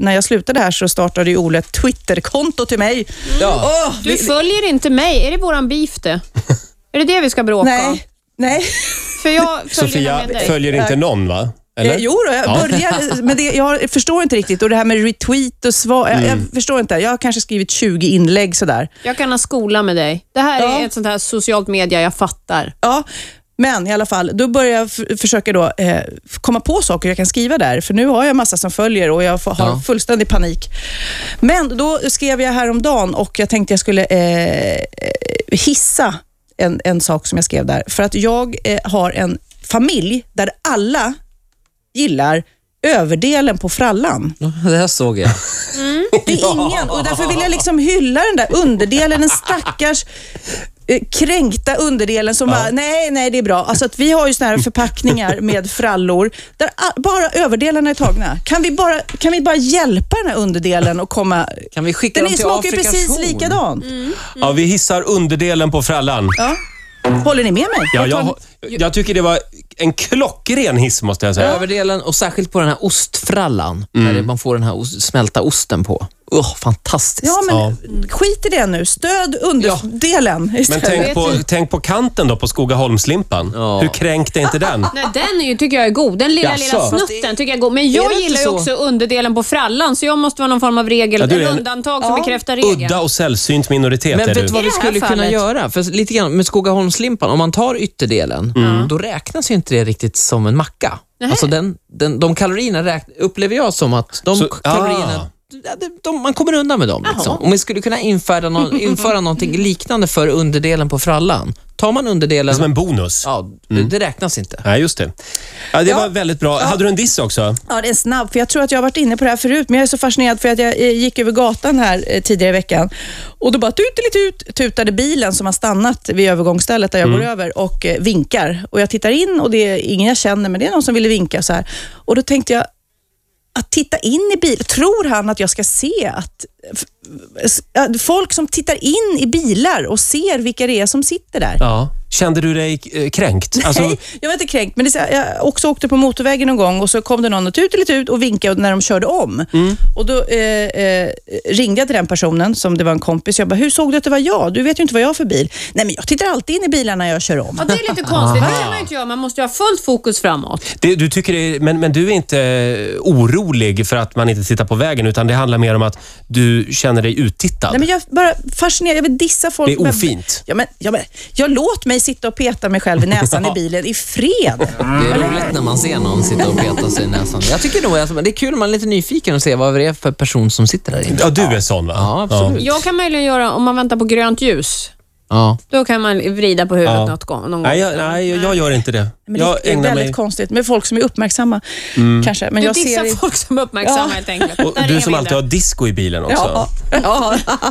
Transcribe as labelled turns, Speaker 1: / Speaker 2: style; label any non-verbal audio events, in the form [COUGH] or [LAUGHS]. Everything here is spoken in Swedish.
Speaker 1: när jag slutade här så startade ju Ole ett Twitterkonto till mig.
Speaker 2: Ja.
Speaker 1: Åh,
Speaker 3: Du följer inte mig. Är det våran beef det? Är det det vi ska bråka om?
Speaker 1: nej, nej.
Speaker 3: För
Speaker 2: [LAUGHS]
Speaker 3: jag följer
Speaker 2: Sofia
Speaker 3: med dig.
Speaker 2: följer inte någon, va? Eller?
Speaker 1: Eh, jo då, jag
Speaker 2: Ja. [LAUGHS]
Speaker 1: börjar, men det, jag förstår inte riktigt. Och det här med retweet och svar, jag, jag
Speaker 2: Mm.
Speaker 1: förstår inte. Jag har kanske skrivit 20 inlägg sådär.
Speaker 3: Jag kan ha skola med dig. Det här
Speaker 1: Ja.
Speaker 3: är ett sånt här socialt media jag fattar.
Speaker 1: Ja, men i alla fall, då börjar jag f- försöka då, eh, komma på saker jag kan skriva där, för nu har jag massa som följer och jag får, har
Speaker 4: Ja.
Speaker 1: fullständig panik. Men då skrev jag häromdagen och jag tänkte jag skulle eh, eh, hissa en, en sak som jag skrev där, för att jag eh, har en familj där alla gillar överdelen på frallan. Mm.
Speaker 4: Det här såg jag.
Speaker 1: Det är ingen och därför vill jag liksom hylla den där underdelen, den stackars eh, kränkta underdelen som bara, nej, nej, det är bra. Alltså att vi har ju såna här förpackningar med frallor där a- bara överdelarna är tagna. Kan vi bara, kan vi bara hjälpa den här underdelen och komma...
Speaker 4: Kan vi skicka
Speaker 1: Den
Speaker 4: dem
Speaker 1: är-
Speaker 4: till
Speaker 1: smakar ju
Speaker 4: Afrikas
Speaker 1: precis
Speaker 4: horn?
Speaker 1: likadant.
Speaker 2: Ja, vi hissar underdelen på frallan.
Speaker 1: Ja. Håller ni med mig?
Speaker 2: Ja,
Speaker 1: tar-
Speaker 2: jag, jag tycker det var en klockren hiss, måste jag säga.
Speaker 4: Överdelen och särskilt på den här ostfrallan, där man får den här ost, smälta osten på. Oh, fantastiskt.
Speaker 1: ja, men skit i det nu. Stöd underdelen
Speaker 2: Men
Speaker 1: istället.
Speaker 2: tänk på, tänk på kanten då på Skogaholmslimpan.
Speaker 4: Ja.
Speaker 2: Hur kränkt är inte den?
Speaker 3: Nej, den är ju, tycker jag är god. Den lilla, lilla
Speaker 2: Jaså?
Speaker 3: snutten tycker jag är god. Men jag
Speaker 4: det inte
Speaker 3: gillar ju
Speaker 4: så?
Speaker 3: också underdelen på frallan, så jag måste vara någon form av regel,
Speaker 2: Ja, du är
Speaker 3: en
Speaker 2: en
Speaker 3: undantag som bekräftar regeln.
Speaker 2: Udda och sällsynt minoritet
Speaker 4: Men
Speaker 2: är
Speaker 4: vet
Speaker 2: du.
Speaker 4: du vad
Speaker 3: I
Speaker 4: vi
Speaker 3: det här
Speaker 4: skulle kunna
Speaker 3: fallet.
Speaker 4: göra? För lite grann med Skogaholmslimpan, om man tar ytterdelen, då räknas ju inte det riktigt som en macka. Alltså den, den, de kalorierna räk, upplever jag som att de
Speaker 2: Så-
Speaker 4: kalorierna,
Speaker 2: ah.
Speaker 4: ja, de, de, man kommer undan med dem. Liksom. Om vi skulle kunna
Speaker 1: [LAUGHS]
Speaker 4: införa, någon, införa någonting liknande för underdelen på frallan. Tar man underdelen,
Speaker 2: Som en bonus.
Speaker 4: ja, det räknas inte.
Speaker 2: Nej, just det. Ja, det var väldigt bra. Hade du en diss också?
Speaker 1: Ja, det är en snabb, för jag tror att jag har varit inne på det här förut, men jag är så fascinerad för att jag eh, gick över gatan här eh, tidigare i veckan och då bara tut, tutade bilen som har stannat vid övergångsstället där jag
Speaker 2: Mm.
Speaker 1: går över och eh, vinkar. Och jag tittar in och det är ingen jag känner, men det är någon som ville vinka så här. Och då tänkte jag, att titta in i bilen, tror han att jag ska se att, f- s- att folk som tittar in i bilar och ser vilka det är som sitter där?
Speaker 2: Ja. Kände du dig eh, kränkt?
Speaker 1: Nej, jag var inte kränkt, men det, är så här, jag också åkte på motorvägen någon gång och så kom det någon och tut, tut och vinkade när de körde om.
Speaker 2: Mm.
Speaker 1: Och Då eh, eh, ringde jag till den personen, som det var en kompis. Jag bara, hur såg du att det var jag? Du vet ju inte vad jag har för bil. Nej, men jag tittar alltid in i bilarna när jag kör om.
Speaker 3: Ja, det är lite konstigt. Det kan man ju inte göra. Man måste ju ha fullt fokus framåt.
Speaker 2: Det, du tycker det är, men, men du är inte eh, orolig för att man inte tittar på vägen, utan det handlar mer om att du känner dig uttittad.
Speaker 1: Nej, men jag är bara fascinerad. Jag vill dissa folk.
Speaker 2: Det är
Speaker 1: men-
Speaker 2: ofint.
Speaker 1: Ja, men, ja, men, jag låt mig sitta och peta mig själv i
Speaker 2: [LAUGHS]
Speaker 1: näsan i bilen i fred.
Speaker 4: Det är roligt när man ser någon sitta och peta sig i näsan. Jag tycker nog alltså, det är kul, man är lite nyfiken och ser vad det är för person som sitter där inne.
Speaker 2: Ja, du är sån va?
Speaker 4: Ja, absolut.
Speaker 3: Jag kan möjligen göra om man väntar på grönt ljus.
Speaker 4: Ja.
Speaker 3: Då kan man vrida på huvudet något gång, någon gång.
Speaker 2: Nej, jag, nej, jag- jag gör inte det.
Speaker 1: Men
Speaker 2: jag
Speaker 1: det är
Speaker 2: ägnar
Speaker 1: väldigt
Speaker 2: mig... Mm.
Speaker 1: konstigt med folk som är uppmärksamma. Kanske. Men
Speaker 3: du
Speaker 1: jag
Speaker 3: dissar
Speaker 1: ser...
Speaker 3: folk som är uppmärksamma
Speaker 1: Ja.
Speaker 3: helt enkelt.
Speaker 2: Och
Speaker 3: Där är
Speaker 2: du som
Speaker 3: bilden.
Speaker 2: alltid har disco i bilen också.
Speaker 1: Ja, ja.